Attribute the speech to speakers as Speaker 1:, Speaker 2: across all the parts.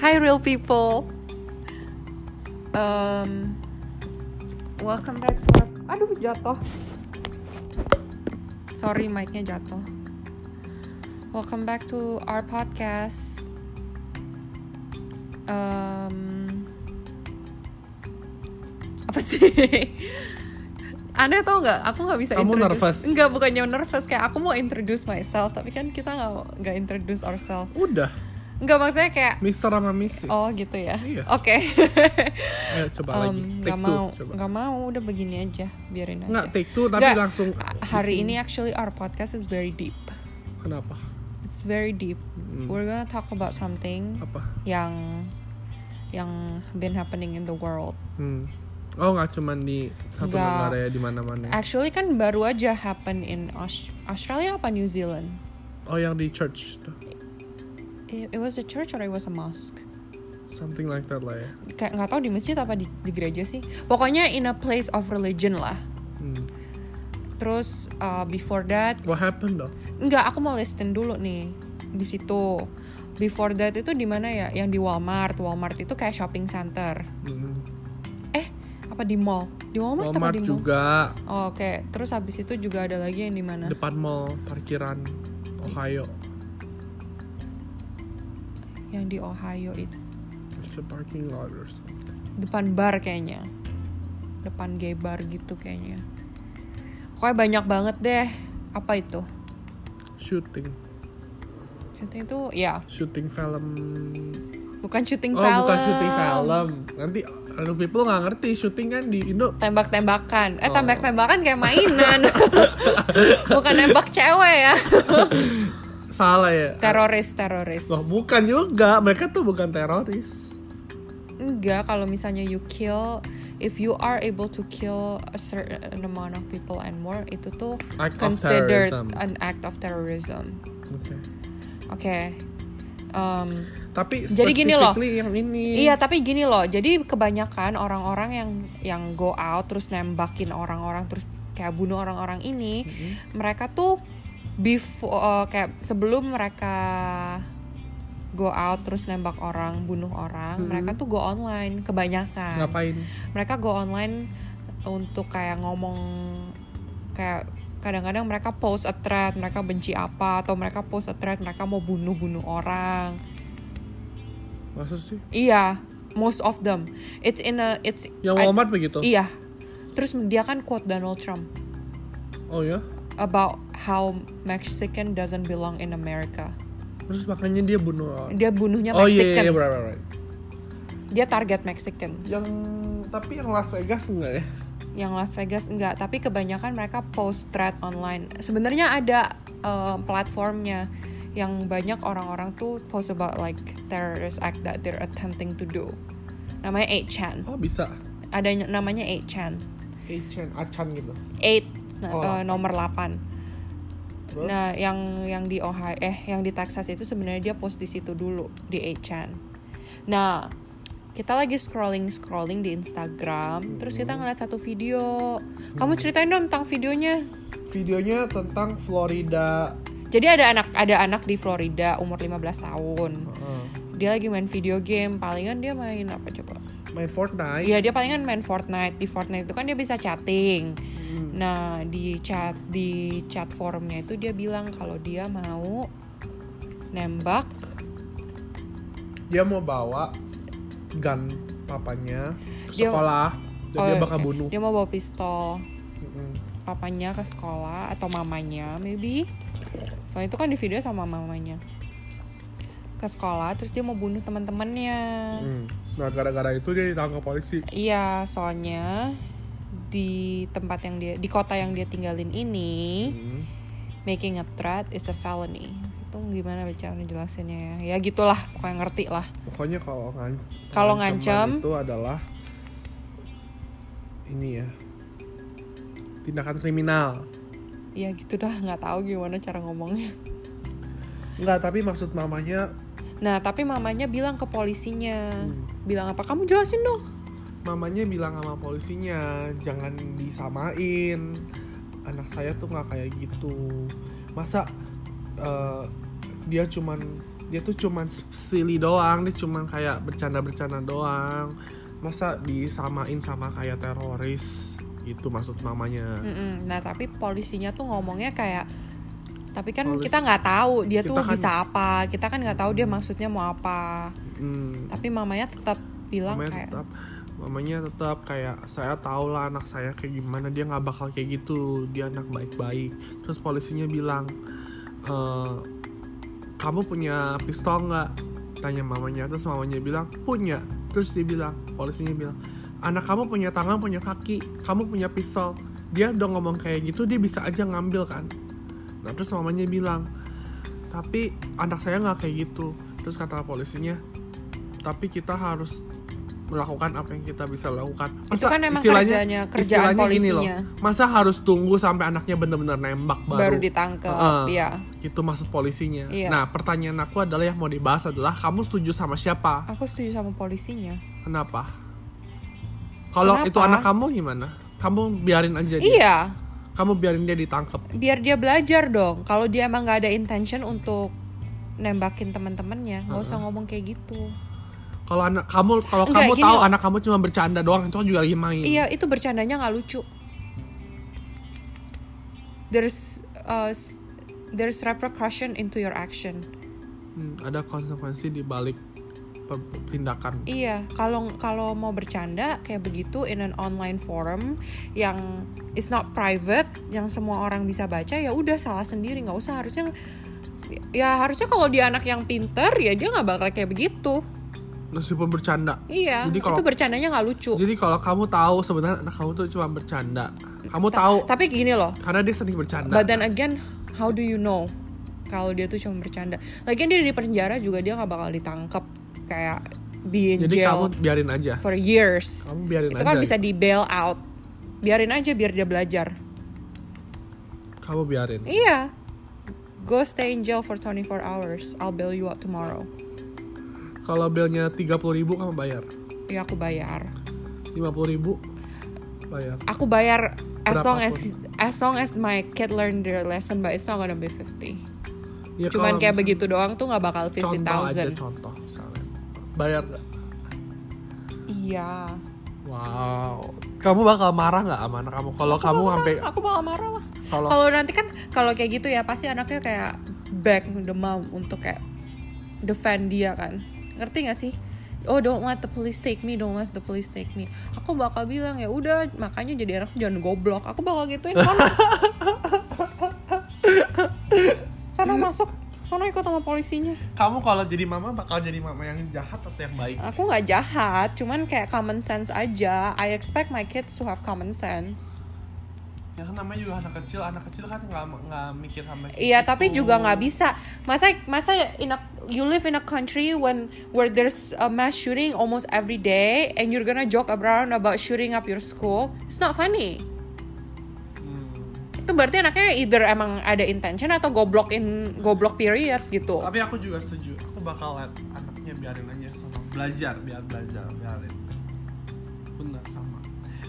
Speaker 1: Hi, real people.
Speaker 2: Um,
Speaker 1: Welcome back to our... Aduh, jatuh.
Speaker 2: sorry mic-nya jatuh. Welcome back to our podcast. Um, apa sih? Aneh tau nggak? Aku nggak bisa.
Speaker 3: Kamu
Speaker 2: introduce-
Speaker 3: nervous?
Speaker 2: Nggak, bukannya nervous kayak aku mau introduce myself, tapi kan kita nggak nggak introduce ourselves.
Speaker 3: Udah,
Speaker 2: Nggak maksudnya kayak
Speaker 3: Mister sama Mrs.
Speaker 2: oh gitu ya.
Speaker 3: Iya.
Speaker 2: Oke.
Speaker 3: Ayo coba
Speaker 2: Em,
Speaker 3: lagi. Take
Speaker 2: nggak
Speaker 3: two,
Speaker 2: mau,
Speaker 3: coba.
Speaker 2: nggak mau. Udah begini aja, biarin aja.
Speaker 3: Nggak take two tapi
Speaker 2: Nggak,
Speaker 3: langsung
Speaker 2: hari ini ya. actually our podcast is very deep.
Speaker 3: Kenapa? Hmm.
Speaker 2: It's very deep. We're gonna talk about something
Speaker 3: Apa?
Speaker 2: yang yang been happening in the world.
Speaker 3: Hmm. Oh, nggak cuman di satu
Speaker 2: Nggak.
Speaker 3: negara ya di mana-mana.
Speaker 2: Actually kan baru aja happen in Aus- Australia apa New Zealand.
Speaker 3: Oh, yang di church tuh.
Speaker 2: It, it was a church or it was a mosque.
Speaker 3: Something like that lah ya.
Speaker 2: Kayak nggak tahu di masjid apa di, di gereja sih. Pokoknya in a place of religion lah.
Speaker 3: Hmm.
Speaker 2: Terus uh, before that
Speaker 3: What happened though?
Speaker 2: Enggak, aku mau listen dulu nih di situ. Before that itu di mana ya? Yang di Walmart. Walmart itu kayak shopping center.
Speaker 3: Hmm.
Speaker 2: Eh, apa di mall? Di Walmart, apa
Speaker 3: Walmart
Speaker 2: di mall?
Speaker 3: juga
Speaker 2: Oh, Oke, terus habis itu juga ada lagi yang di mana?
Speaker 3: depan mall parkiran Ohio.
Speaker 2: Yang di Ohio itu.
Speaker 3: It's a parking lot or something.
Speaker 2: Depan bar kayaknya. Depan gay bar gitu kayaknya. Pokoknya banyak banget deh. Apa itu?
Speaker 3: Shooting,
Speaker 2: Shooting itu ya,
Speaker 3: shooting film.
Speaker 2: bukan shooting
Speaker 3: Oh, bukan shooting film. Nanti aduh people nggak ngerti shooting kan di Indo
Speaker 2: tembak-tembakan eh
Speaker 3: Oh.
Speaker 2: tembak-tembakan kayak mainan bukan nembak cewek ya
Speaker 3: salah ya.
Speaker 2: teroris teroris
Speaker 3: Loh, bukan juga. Mereka tuh bukan teroris.
Speaker 2: enggak kalau misalnya you kill if you are able to kill a certain amount of people and more itu tuh
Speaker 3: Act of
Speaker 2: considered
Speaker 3: terrorism.
Speaker 2: an act of terrorism
Speaker 3: Oke.
Speaker 2: oke Um,
Speaker 3: Tapi
Speaker 2: Jadi gini loh.
Speaker 3: specifically yang ini.
Speaker 2: Iya tapi gini loh, jadi kebanyakan orang-orang yang yang go out terus nembakin orang-orang terus kayak bunuh orang-orang ini, mereka tuh before kayak sebelum mereka go out terus nembak orang bunuh orang, mereka tuh go online kebanyakan.
Speaker 3: Ngapain?
Speaker 2: Mereka go online untuk kayak ngomong kayak kadang-kadang mereka post a thread mereka benci apa atau mereka post a thread mereka mau bunuh-bunuh orang
Speaker 3: Masa sih?
Speaker 2: Iya, most of them. It's in a it's
Speaker 3: Yang
Speaker 2: I-
Speaker 3: Walmart begitu?
Speaker 2: Iya. Terus dia kan quote Donald Trump
Speaker 3: Oh ya?
Speaker 2: about how Mexican doesn't belong in America.
Speaker 3: Terus makanya dia bunuh orang.
Speaker 2: Dia bunuhnya
Speaker 3: Oh iya, iya,
Speaker 2: Mexicans.
Speaker 3: iya, right, right, right.
Speaker 2: Dia target Mexican.
Speaker 3: Yang tapi yang Las Vegas enggak ya?
Speaker 2: Yang Las Vegas enggak, tapi kebanyakan mereka post thread online. Sebenarnya ada eh, platformnya yang banyak orang-orang tuh post about like terrorist act that they're attempting to do. Namanya 8chan.
Speaker 3: Oh bisa.
Speaker 2: Ada yang namanya 8chan.
Speaker 3: Achan, Achan gitu.
Speaker 2: 8
Speaker 3: Oh,
Speaker 2: eh, nomor 8.
Speaker 3: Terus?
Speaker 2: Nah, yang yang di Ohio eh yang di Texas itu sebenarnya dia post di situ dulu di 8chan. Nah, kita lagi scrolling scrolling di Instagram, terus kita
Speaker 3: Hmm.
Speaker 2: ngeliat satu video. Kamu ceritain dong tentang videonya.
Speaker 3: Videonya tentang Florida.
Speaker 2: Jadi ada anak ada anak di Florida umur 15 tahun.
Speaker 3: Heeh.
Speaker 2: Dia lagi main video game, palingan dia main apa coba?
Speaker 3: main Fortnite.
Speaker 2: Iya, dia palingan main Fortnite. Di Fortnite itu kan dia bisa chatting.
Speaker 3: Hmm.
Speaker 2: Nah, di chat di chat forumnya itu dia bilang kalau dia mau nembak
Speaker 3: Dia mau bawa gun papanya ke
Speaker 2: Dia-
Speaker 3: sekolah. Dan dia
Speaker 2: oh,
Speaker 3: bakal
Speaker 2: eh,
Speaker 3: bunuh.
Speaker 2: Dia mau bawa pistol
Speaker 3: Mm-mm.
Speaker 2: papanya ke sekolah atau mamanya maybe. Soalnya itu kan di video sama mamanya. Ke sekolah terus dia mau bunuh teman-temannya.
Speaker 3: Mm. Nah gara-gara itu dia ditangkap polisi.
Speaker 2: Iya, soalnya di tempat yang dia di kota yang dia tinggalin ini
Speaker 3: Mm.
Speaker 2: making a threat is a felony itu gimana bicaranya jelasinnya ya ya gitulah pokoknya ngerti lah
Speaker 3: Pokoknya kalau ngan
Speaker 2: Kalau
Speaker 3: ancaman
Speaker 2: ngancam-
Speaker 3: itu adalah ini ya tindakan kriminal.
Speaker 2: ya gitu dah nggak tahu gimana cara ngomongnya
Speaker 3: Enggak, tapi maksud mamanya mm,
Speaker 2: nah tapi mamanya bilang ke polisinya
Speaker 3: Hmm.
Speaker 2: bilang apa kamu jelasin dong
Speaker 3: mamanya bilang sama polisinya jangan disamain anak saya tuh nggak kayak gitu masa eh, dia cuman dia tuh cuman silly doang dia cuman kayak bercanda-bercanda doang masa disamain sama kayak teroris itu maksud mamanya
Speaker 2: Mm-mm. Nah tapi polisinya tuh ngomongnya kayak tapi kan
Speaker 3: Polisi-
Speaker 2: kita nggak tahu dia
Speaker 3: Kita
Speaker 2: tuh
Speaker 3: kan-
Speaker 2: bisa apa kita kan nggak tahu dia maksudnya mau apa
Speaker 3: Hmm.
Speaker 2: tapi mamanya tetap bilang
Speaker 3: mamanya
Speaker 2: kayak
Speaker 3: tetap mamanya tetap kayak saya tahu lah anak saya kayak gimana dia nggak bakal kayak gitu dia anak baik-baik terus polisinya bilang e, kamu punya pistol nggak tanya mamanya terus mamanya bilang punya terus dia bilang polisinya bilang anak kamu punya tangan punya kaki kamu punya pistol dia udah ngomong kayak gitu dia bisa aja ngambil kan nah terus mamanya bilang tapi anak saya nggak kayak gitu terus kata polisinya tapi kita harus melakukan apa yang kita bisa lakukan.
Speaker 2: itu
Speaker 3: Masa
Speaker 2: kan emang
Speaker 3: istilahnya-
Speaker 2: kerjanya kerjaan
Speaker 3: istilahnya gini loh,
Speaker 2: polisinya
Speaker 3: masa harus tunggu sampai anaknya benar-benar nembak
Speaker 2: baru,
Speaker 3: baru? Ah,
Speaker 2: ditangkap
Speaker 3: Heeh.
Speaker 2: ya
Speaker 3: Itu maksud polisinya.
Speaker 2: Iya.
Speaker 3: Nah, pertanyaan aku adalah yang mau dibahas adalah kamu setuju sama siapa?
Speaker 2: aku setuju sama polisinya
Speaker 3: Kenapa? Kalau
Speaker 2: Kenapa?
Speaker 3: itu anak kamu gimana? Kamu biarin aja dia.
Speaker 2: iya
Speaker 3: Kamu biarin dia ditangkap.
Speaker 2: biar dia belajar dong kalau dia emang nggak ada intention untuk nembakin teman-temannya
Speaker 3: Ah,
Speaker 2: nggak usah ngomong kayak gitu
Speaker 3: Kalau anak kamu kalau
Speaker 2: Enggak,
Speaker 3: kamu
Speaker 2: gini
Speaker 3: tahu
Speaker 2: loh.
Speaker 3: anak kamu cuma bercanda doang itu kan juga lagi main.
Speaker 2: Iya, itu bercandanya nggak lucu. There's uh, s- there's repercussion into your action.
Speaker 3: Hmm, ada konsekuensi di balik per- tindakan.
Speaker 2: Iya, kalau kalau mau bercanda kayak begitu in an online forum yang it's not private, yang semua orang bisa baca ya udah salah sendiri, nggak usah harusnya ya harusnya kalau dia anak yang pinter ya dia nggak bakal kayak begitu.
Speaker 3: Meskipun bercanda.
Speaker 2: Iya,
Speaker 3: Jadi kalau-
Speaker 2: itu bercandanya nggak lucu.
Speaker 3: Jadi kalau kamu tahu sebenarnya anak kamu tuh cuma bercanda, kamu tahu
Speaker 2: Tapi gini loh,
Speaker 3: karena dia sering bercanda.
Speaker 2: But then again, how do you know kalau dia tuh cuma bercanda? Lagian dia di penjara juga dia nggak bakal ditangkap kayak be in
Speaker 3: Jadi kamu
Speaker 2: jail
Speaker 3: biarin aja.
Speaker 2: for years.
Speaker 3: Kamu biarin
Speaker 2: Itu
Speaker 3: aja.
Speaker 2: kan bisa di bail out. Biarin aja biar dia belajar.
Speaker 3: Kamu biarin.
Speaker 2: Iya. Go stay in jail for 24 hours. I'll bail you out tomorrow.
Speaker 3: Kalau belnya 30.000 ribu kamu bayar.
Speaker 2: Ya aku bayar.
Speaker 3: 50.000 ribu bayar.
Speaker 2: Aku bayar as
Speaker 3: Berapapun.
Speaker 2: long as as long as my kid learn their lesson, but it's not gonna be 50.
Speaker 3: Ya,
Speaker 2: Cuman
Speaker 3: kalau
Speaker 2: kayak
Speaker 3: misalnya-
Speaker 2: begitu doang tuh nggak bakal
Speaker 3: Contoh aja
Speaker 2: 50.000.
Speaker 3: contoh misalnya. Bayar nggak?
Speaker 2: Iya.
Speaker 3: Wow. Kamu bakal marah nggak sama anak kamu? Kalau kamu sampai
Speaker 2: aku bakal marah lah.
Speaker 3: kalau
Speaker 2: Kalau nanti kan kalau kayak gitu ya pasti anaknya kayak back the mom untuk kayak defend dia kan. Ngerti gak sih? Oh don't let the police take me, don't let the police take me. Aku bakal bilang ya udah makanya jadi anak tuh jangan goblok. Aku bakal gituin sono. sono masuk, sono ikut sama polisinya.
Speaker 3: kamu kalau jadi mama bakal jadi mama yang jahat atau yang baik?
Speaker 2: Aku nggak jahat, cuman kayak common sense aja. I expect my kids to have common sense.
Speaker 3: Ya kan namanya juga anak kecil, anak kecil kan nggak nggak mikir sampai. gitu.
Speaker 2: Iya, tapi juga nggak bisa. Masa masa in a, you live in a country when where there's a mass shooting almost every day and you're gonna joke around about shooting up your school. It's not funny.
Speaker 3: Hmm.
Speaker 2: Itu berarti anaknya either emang ada intention atau goblok in goblok period gitu.
Speaker 3: tapi aku juga setuju aku bakal let anaknya biarin aja sama belajar biar belajar biarin benar sama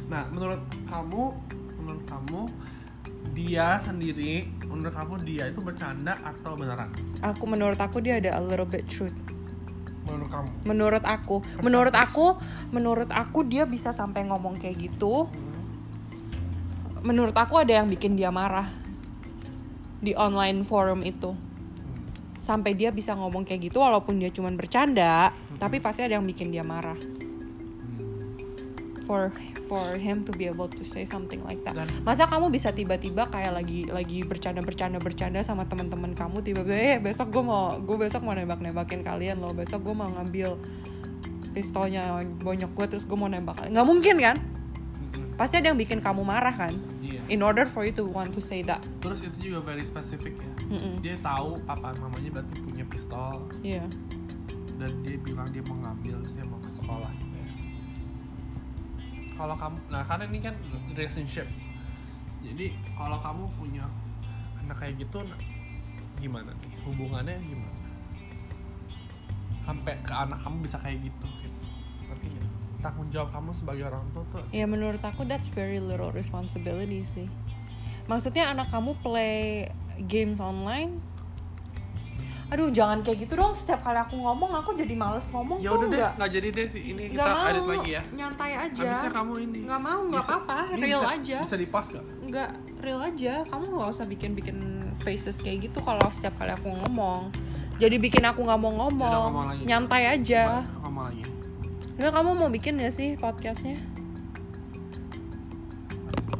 Speaker 3: nah menurut kamu menurut kamu dia sendiri menurut kamu dia itu bercanda atau beneran
Speaker 2: Aku menurut aku dia ada a little bit truth.
Speaker 3: menurut kamu
Speaker 2: Menurut aku, menurut aku, menurut aku dia bisa sampai ngomong kayak gitu. Menurut aku ada yang bikin dia marah di online forum itu. sampai dia bisa ngomong kayak gitu walaupun dia cuman bercanda tapi pasti ada yang bikin dia marah
Speaker 3: Hmm.
Speaker 2: for for him to be able to say something like that
Speaker 3: Dan-
Speaker 2: masa kamu bisa tiba-tiba kayak lagi lagi bercanda bercanda bercanda sama teman-teman kamu tiba-tiba eh besok gue mau gue besok mau nembak-nembakin kalian loh besok gue mau ngambil pistolnya bonyok gue terus gue mau nembak kalian nggak mungkin kan pasti ada yang bikin kamu marah kan
Speaker 3: Iya.
Speaker 2: in order for you to want to say that
Speaker 3: terus itu juga very specific ya
Speaker 2: Mm-mm.
Speaker 3: dia tahu papa dan mamanya berarti punya pistol
Speaker 2: yeah
Speaker 3: dan dia bilang dia mau ngambil terus dia mau ke sekolah gitu ya. kalau kamu nah karena ini kan relationship jadi kalau kamu punya anak kayak gitu nah, gimana nih hubungannya gimana sampai ke anak kamu bisa kayak gitu gitu ngerti nggak? tanggung jawab kamu sebagai orang tua tuh
Speaker 2: Ya menurut aku that's very little responsibility sih. Maksudnya anak kamu play games online? aduh jangan kayak gitu dong setiap kali aku ngomong aku jadi males ngomong
Speaker 3: ya
Speaker 2: tuh
Speaker 3: udah deh
Speaker 2: nggak
Speaker 3: nggak jadi deh ini kita
Speaker 2: nggak mau
Speaker 3: edit lagi ya
Speaker 2: nyantai aja
Speaker 3: Abisnya kamu ini
Speaker 2: nggak mau nggak
Speaker 3: Bisa-
Speaker 2: apa-apa
Speaker 3: ini
Speaker 2: real
Speaker 3: bisa-
Speaker 2: aja Ya.
Speaker 3: bisa di pause nggak
Speaker 2: nggak real aja kamu nggak usah bikin bikin faces kayak gitu kalau setiap kali aku ngomong jadi bikin aku nggak mau
Speaker 3: Yaudah,
Speaker 2: ngomong
Speaker 3: ngomong lagi.
Speaker 2: nyantai aja
Speaker 3: Coba ngomong lagi
Speaker 2: nggak kamu mau bikin gak sih podcastnya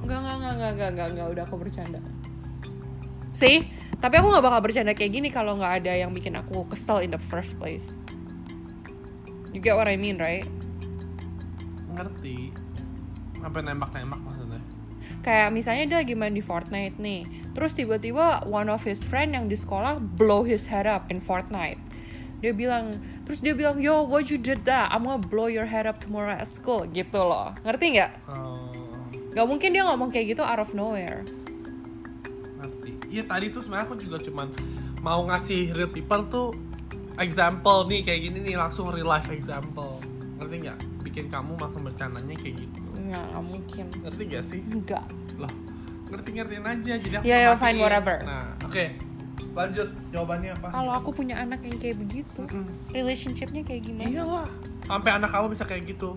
Speaker 2: nggak nggak nggak nggak nggak nggak nggak udah aku bercanda sih tapi aku nggak bakal bercanda kayak gini kalau nggak ada yang bikin aku kesel in the first place you get what I mean right
Speaker 3: ngerti apa nembak-nembak maksudnya
Speaker 2: kayak misalnya dia lagi main di Fortnite nih terus tiba-tiba one of his friend yang di sekolah blow his head up in Fortnite dia bilang terus dia bilang yo what you did that I'm gonna blow your head up tomorrow at school gitu loh ngerti nggak
Speaker 3: Eh,
Speaker 2: nggak mungkin dia ngomong kayak gitu out of nowhere
Speaker 3: ngerti iya tadi tuh sebenarnya aku juga cuman mau ngasih real people tuh example nih kayak gini nih langsung real life example ngerti nggak bikin kamu langsung bercandanya kayak gitu
Speaker 2: nggak nggak mungkin
Speaker 3: ngerti nggak sih
Speaker 2: nggak
Speaker 3: loh ngerti ngertiin aja jadi aku
Speaker 2: Ya, ya,
Speaker 3: perhatiin.
Speaker 2: fine, whatever.
Speaker 3: nah oke lanjut jawabannya apa
Speaker 2: kalau aku punya anak yang kayak begitu
Speaker 3: Mm-mm. Iya.
Speaker 2: relationshipnya kayak gimana
Speaker 3: iyalah sampai anak kamu bisa kayak gitu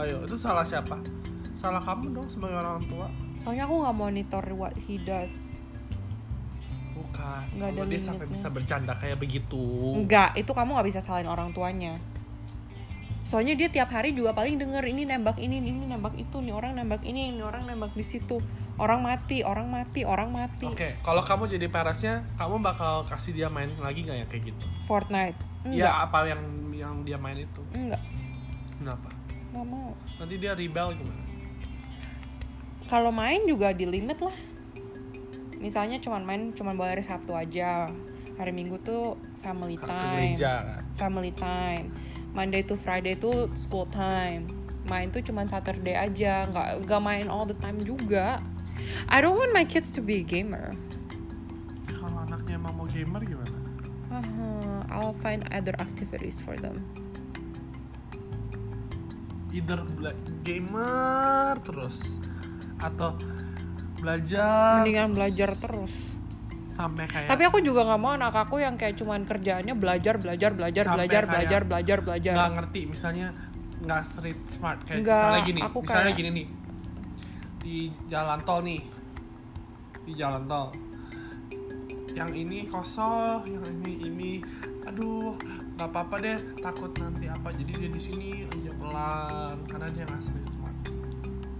Speaker 3: ayo itu salah siapa salah kamu dong sebagai orang tua
Speaker 2: soalnya aku nggak monitor what he does
Speaker 3: bukan
Speaker 2: Nggak ada
Speaker 3: Kalau dia sampai
Speaker 2: limitnya.
Speaker 3: bisa bercanda kayak begitu
Speaker 2: Enggak, itu kamu nggak bisa salahin orang tuanya. Soalnya dia tiap hari juga paling denger ini nembak ini, ini nembak itu, nih orang nembak ini, ini orang nembak di situ. Orang mati, orang mati, orang mati.
Speaker 3: Oke, kalau kamu jadi parasnya, kamu bakal kasih dia main lagi nggak ya kayak gitu?
Speaker 2: Fortnite. Enggak.
Speaker 3: Iya, apa yang yang dia main itu?
Speaker 2: Enggak,
Speaker 3: Kenapa?
Speaker 2: nggak mau.
Speaker 3: Nanti dia rebel gimana?
Speaker 2: Kalau main juga di limit lah. Misalnya cuman main cuman boleh hari Sabtu aja. Hari Minggu tuh family
Speaker 3: Ke
Speaker 2: time.
Speaker 3: gereja kan?
Speaker 2: family time Monday to Friday itu school time main tuh cuman Saturday aja nggak nggak main all the time juga I don't want my kids to be a gamer
Speaker 3: Kalau anaknya emang mau gamer gimana?
Speaker 2: Uh-huh, I'll find other activities for them
Speaker 3: Either bela- gamer terus atau belajar
Speaker 2: mendingan belajar terus
Speaker 3: sampai kayak
Speaker 2: tapi aku juga nggak mau anak aku yang kayak cuman kerjaannya belajar belajar belajar
Speaker 3: Sampai
Speaker 2: belajar
Speaker 3: kayak
Speaker 2: belajar belajar belajar
Speaker 3: nggak ngerti misalnya nggak street smart
Speaker 2: Iya.
Speaker 3: kayak
Speaker 2: Nggak,
Speaker 3: misalnya gini
Speaker 2: aku
Speaker 3: misalnya
Speaker 2: kayak-
Speaker 3: gini nih di jalan tol nih di jalan tol yang ini kosong yang ini ini aduh nggak apa-apa deh takut nanti apa jadi dia di sini aja pelan karena dia nggak street smart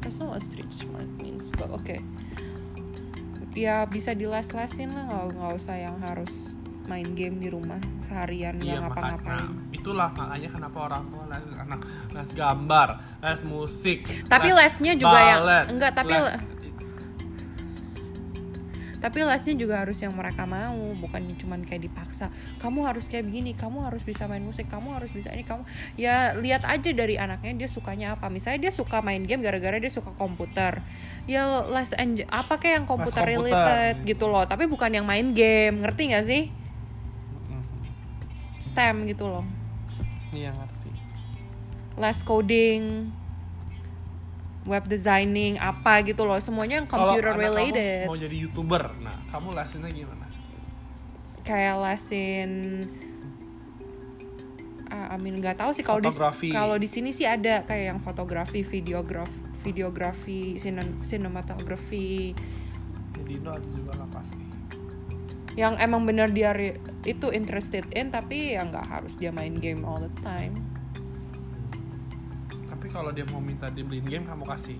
Speaker 2: That's not what street smart means, but oke. Ya bisa diles-lesin lah, nggak nggak usah yang harus main game di rumah seharian nggak
Speaker 3: Iya, makanya
Speaker 2: Iya, ngapa-ngapain.
Speaker 3: itulah makanya kenapa orang tua les anak les gambar les musik
Speaker 2: Tapi lesnya juga yang-
Speaker 3: balet,
Speaker 2: enggak, tapi
Speaker 3: les-
Speaker 2: le- Tapi lesnya juga harus yang mereka mau, bukannya cuman kayak dipaksa. Kamu harus kayak begini, kamu harus bisa main musik, kamu harus bisa ini, kamu ya lihat aja dari anaknya dia sukanya apa. Misalnya dia suka main game gara-gara dia suka komputer. Ya les enj- apa kayak yang komputer,
Speaker 3: komputer.
Speaker 2: related gitu loh, tapi bukan yang main game, ngerti nggak sih?
Speaker 3: Mm-mm.
Speaker 2: STEM gitu loh.
Speaker 3: Mhm. iya ngerti
Speaker 2: les coding, web designing, apa gitu loh, semuanya yang
Speaker 3: Kalau
Speaker 2: computer
Speaker 3: anak
Speaker 2: related.
Speaker 3: Kamu mau jadi youtuber, nah kamu lesinnya gimana?
Speaker 2: Kayak lesin ah, I mean nggak tahu sih kalau di
Speaker 3: Fotografi.
Speaker 2: kalau di sini sih ada kayak yang fotografi, videograf, videografi, sinem- sinematografi
Speaker 3: Jadi Indo ada juga lah pasti.
Speaker 2: yang emang bener dia re- itu interested in tapi ya nggak harus dia main game all the time.
Speaker 3: Tapi kalau dia mau minta dibeliin game, kamu kasih.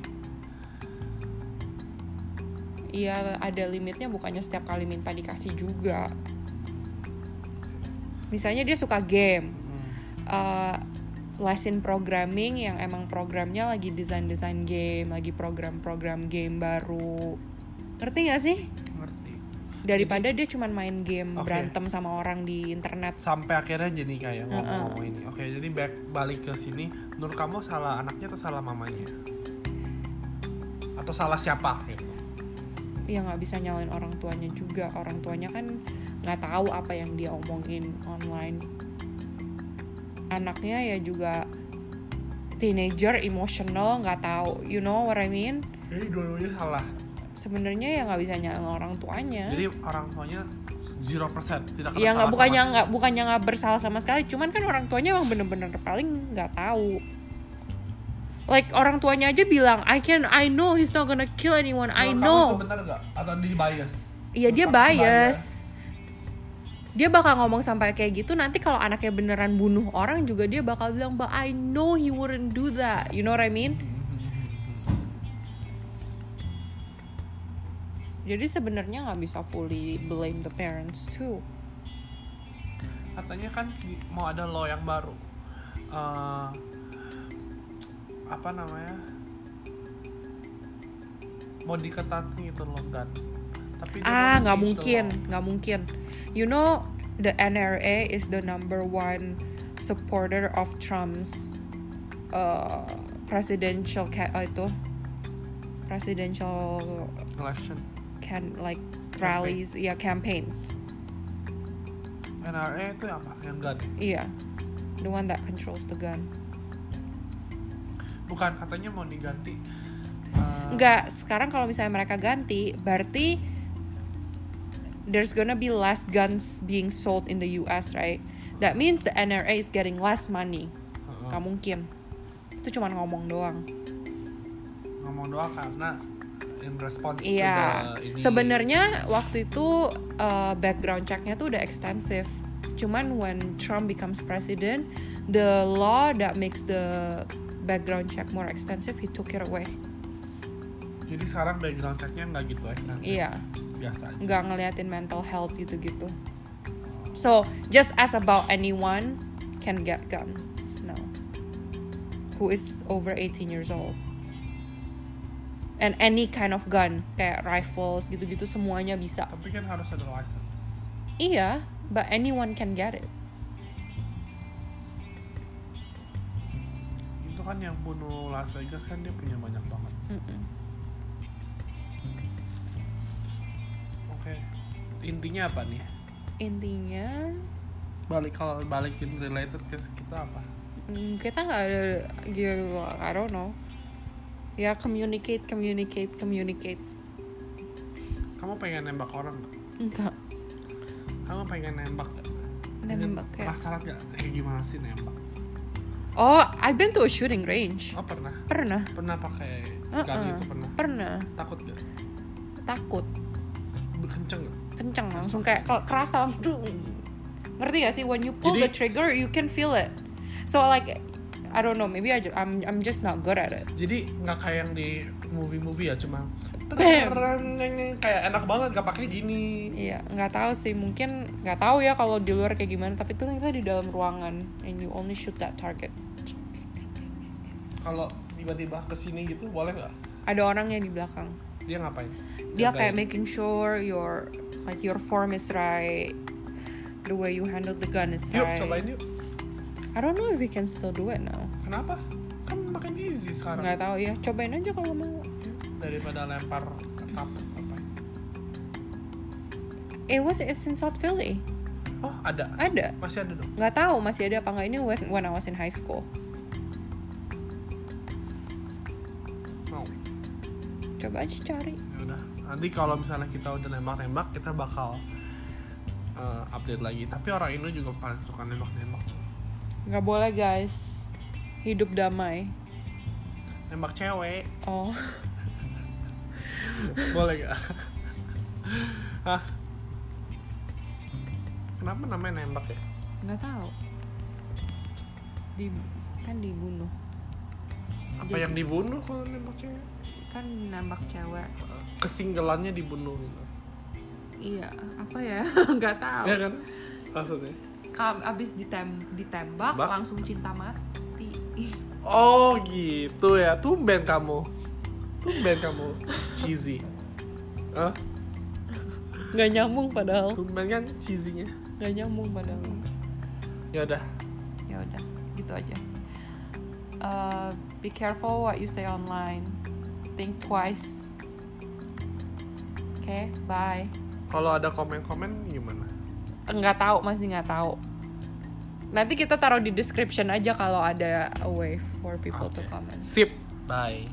Speaker 2: Iya ada limitnya bukannya setiap kali minta dikasih juga. Misalnya dia suka game, uh, lesson programming yang emang programnya lagi desain-desain game, lagi program-program game baru. Ngerti gak sih?
Speaker 3: Ngerti.
Speaker 2: Daripada dia cuman main game
Speaker 3: Oke.
Speaker 2: berantem sama orang di internet.
Speaker 3: Sampai akhirnya jadi kayak
Speaker 2: Hmm.
Speaker 3: ngomong-ngomong ini. Oke, jadi back balik ke sini. Menurut kamu salah anaknya atau salah mamanya? Atau salah siapa? Gitu.
Speaker 2: Ya nggak bisa nyalain orang tuanya juga. Orang tuanya kan nggak tahu apa yang dia omongin online. Anaknya ya juga teenager, emotional, nggak tahu. You know what I mean?
Speaker 3: Jadi dua-duanya salah.
Speaker 2: sebenarnya ya nggak bisa nyalain orang tuanya
Speaker 3: Jadi orang tuanya 0% tidak
Speaker 2: ya Eh? nggak
Speaker 3: salah
Speaker 2: bukannya
Speaker 3: sama-
Speaker 2: nggak bukannya nggak bersalah sama sekali cuman kan orang tuanya emang bener-bener paling nggak tahu like orang tuanya aja bilang I can I know he's not gonna kill anyone I
Speaker 3: Menurut
Speaker 2: know
Speaker 3: kamu itu benar nggak? Atau di bias?
Speaker 2: Iya dia
Speaker 3: Menurut kamu
Speaker 2: bias. Dia bakal ngomong sampai kayak gitu nanti kalau anaknya beneran bunuh orang juga dia bakal bilang but I know he wouldn't do that. You know what I mean? Jadi sebenarnya nggak bisa fully blame the parents too.
Speaker 3: Katanya kan di- mau ada law yang baru. Eh, apa namanya? Mau diketatin itu loh kan. Tapi dia
Speaker 2: Ah nggak
Speaker 3: mau change the
Speaker 2: mungkin,
Speaker 3: law.
Speaker 2: nggak mungkin. You know the NRA is the number one supporter of Trump's uh, presidential ca- uh, itu presidential
Speaker 3: Election
Speaker 2: can like rallies ya campaigns
Speaker 3: NRA itu apa? Yang gun. ya?
Speaker 2: iya the one that controls the gun
Speaker 3: Bukan katanya mau diganti. eh,
Speaker 2: enggak sekarang kalau misalnya mereka ganti berarti there's gonna be less guns being sold in the US right that means the NRA is getting less money
Speaker 3: eh,
Speaker 2: nggak mungkin itu cuma ngomong doang
Speaker 3: ngomong doang karena in response
Speaker 2: iya
Speaker 3: to the ini
Speaker 2: sebenarnya waktu itu uh, background checknya tuh udah ekstensif cuman when Trump becomes president the law that makes the background check more extensive he took it away
Speaker 3: jadi sekarang background checknya nggak gitu ekstensif
Speaker 2: Iya,
Speaker 3: biasa aja
Speaker 2: nggak ngeliatin mental health gitu-gitu. So just as about anyone can get guns now, who is over 18 years old. And any kind of gun, kayak rifles gitu-gitu semuanya bisa.
Speaker 3: tapi kan harus ada license
Speaker 2: Iya, but anyone can get it.
Speaker 3: itu kan yang bunuh Las Vegas kan dia punya banyak banget
Speaker 2: Mm-mm.
Speaker 3: oke intinya apa nih
Speaker 2: Intinya
Speaker 3: balik kalau balikin related ke kita apa
Speaker 2: mm, kita nggak ada gitu, I don't know. Ya communicate, communicate, communicate.
Speaker 3: kamu pengen nembak orang nggak
Speaker 2: Enggak,
Speaker 3: kamu pengen nembak nggak?
Speaker 2: nembak
Speaker 3: Pengen-
Speaker 2: kayak.
Speaker 3: penasaran nggak kayak gimana sih nembak
Speaker 2: Oh, I've been to a shooting range.
Speaker 3: oh pernah
Speaker 2: Pernah,
Speaker 3: pernah pakai
Speaker 2: Uh-uh.
Speaker 3: gun itu gitu, pernah
Speaker 2: pernah.
Speaker 3: takut gak
Speaker 2: Takut,
Speaker 3: kenceng nggak
Speaker 2: kenceng langsung kayak ke- kerasa langsung. dung. Ngerti gak sih? When you pull
Speaker 3: Jadi-
Speaker 2: the trigger, you can feel it. So like, I don't know. Maybe I ju- I'm I'm just not good at it.
Speaker 3: jadi nggak kayak yang di movie-movie ya cuma
Speaker 2: Bam.
Speaker 3: tereng, kayak enak banget nggak pakai gini
Speaker 2: Iya, nggak tahu sih. Mungkin nggak tahu ya kalau di luar kayak gimana. Tapi itu kan kita di dalam ruangan and you only shoot that target.
Speaker 3: kalau tiba-tiba kesini gitu boleh nggak
Speaker 2: Ada orang yang di belakang.
Speaker 3: dia ngapain
Speaker 2: Dia kayak
Speaker 3: Jagain.
Speaker 2: making sure your like your form is right, the way you handle the gun is
Speaker 3: yuk
Speaker 2: right.
Speaker 3: cobain yuk
Speaker 2: I don't know if we can still do it now.
Speaker 3: kenapa kan makin easy sekarang
Speaker 2: Nggak tahu ya. Cobain aja kalau mau.
Speaker 3: daripada lempar ke cup ngapain
Speaker 2: It was it's in South Philly.
Speaker 3: oh ada
Speaker 2: Ada.
Speaker 3: masih ada dong
Speaker 2: Nggak tahu masih ada apa nggak ini when, when I was in high school.
Speaker 3: mau
Speaker 2: Coba aja cari.
Speaker 3: Oh, ya udah nanti kalau misalnya kita udah nembak-nembak kita bakal eh, update lagi tapi orang Indo juga paling suka nembak-nembak
Speaker 2: Nggak boleh guys. Hidup damai.
Speaker 3: nembak cewek
Speaker 2: Oh,
Speaker 3: boleh gak? Hah? Kenapa namanya nembak ya?
Speaker 2: nggak tahu. Di kan dibunuh.
Speaker 3: Apa
Speaker 2: Jadi-
Speaker 3: yang dibunuh kalau nembak cewek?
Speaker 2: Kan nembak cewek.
Speaker 3: Kesinggelannya dibunuh gitu.
Speaker 2: Iya, apa ya? Nggak tahu.
Speaker 3: Iya kan? Maksudnya?
Speaker 2: Kam- Abis ditem- ditembak
Speaker 3: Bak.
Speaker 2: langsung cinta mati.
Speaker 3: Oh gitu ya, tumben kamu Tumben kamu Cheesy Hah?
Speaker 2: Nggak nyambung padahal.
Speaker 3: Tumben kan cheesy-nya
Speaker 2: Nggak nyambung padahal.
Speaker 3: Yaudah
Speaker 2: ya udah gitu aja Uh, be careful what you say online think twice oke bye Eh,
Speaker 3: Kalau ada komen-komen gimana?
Speaker 2: nggak tahu masih nggak tahu nanti kita taruh di description aja kalau ada a way for people to
Speaker 3: Oke.
Speaker 2: comment
Speaker 3: Sip Bye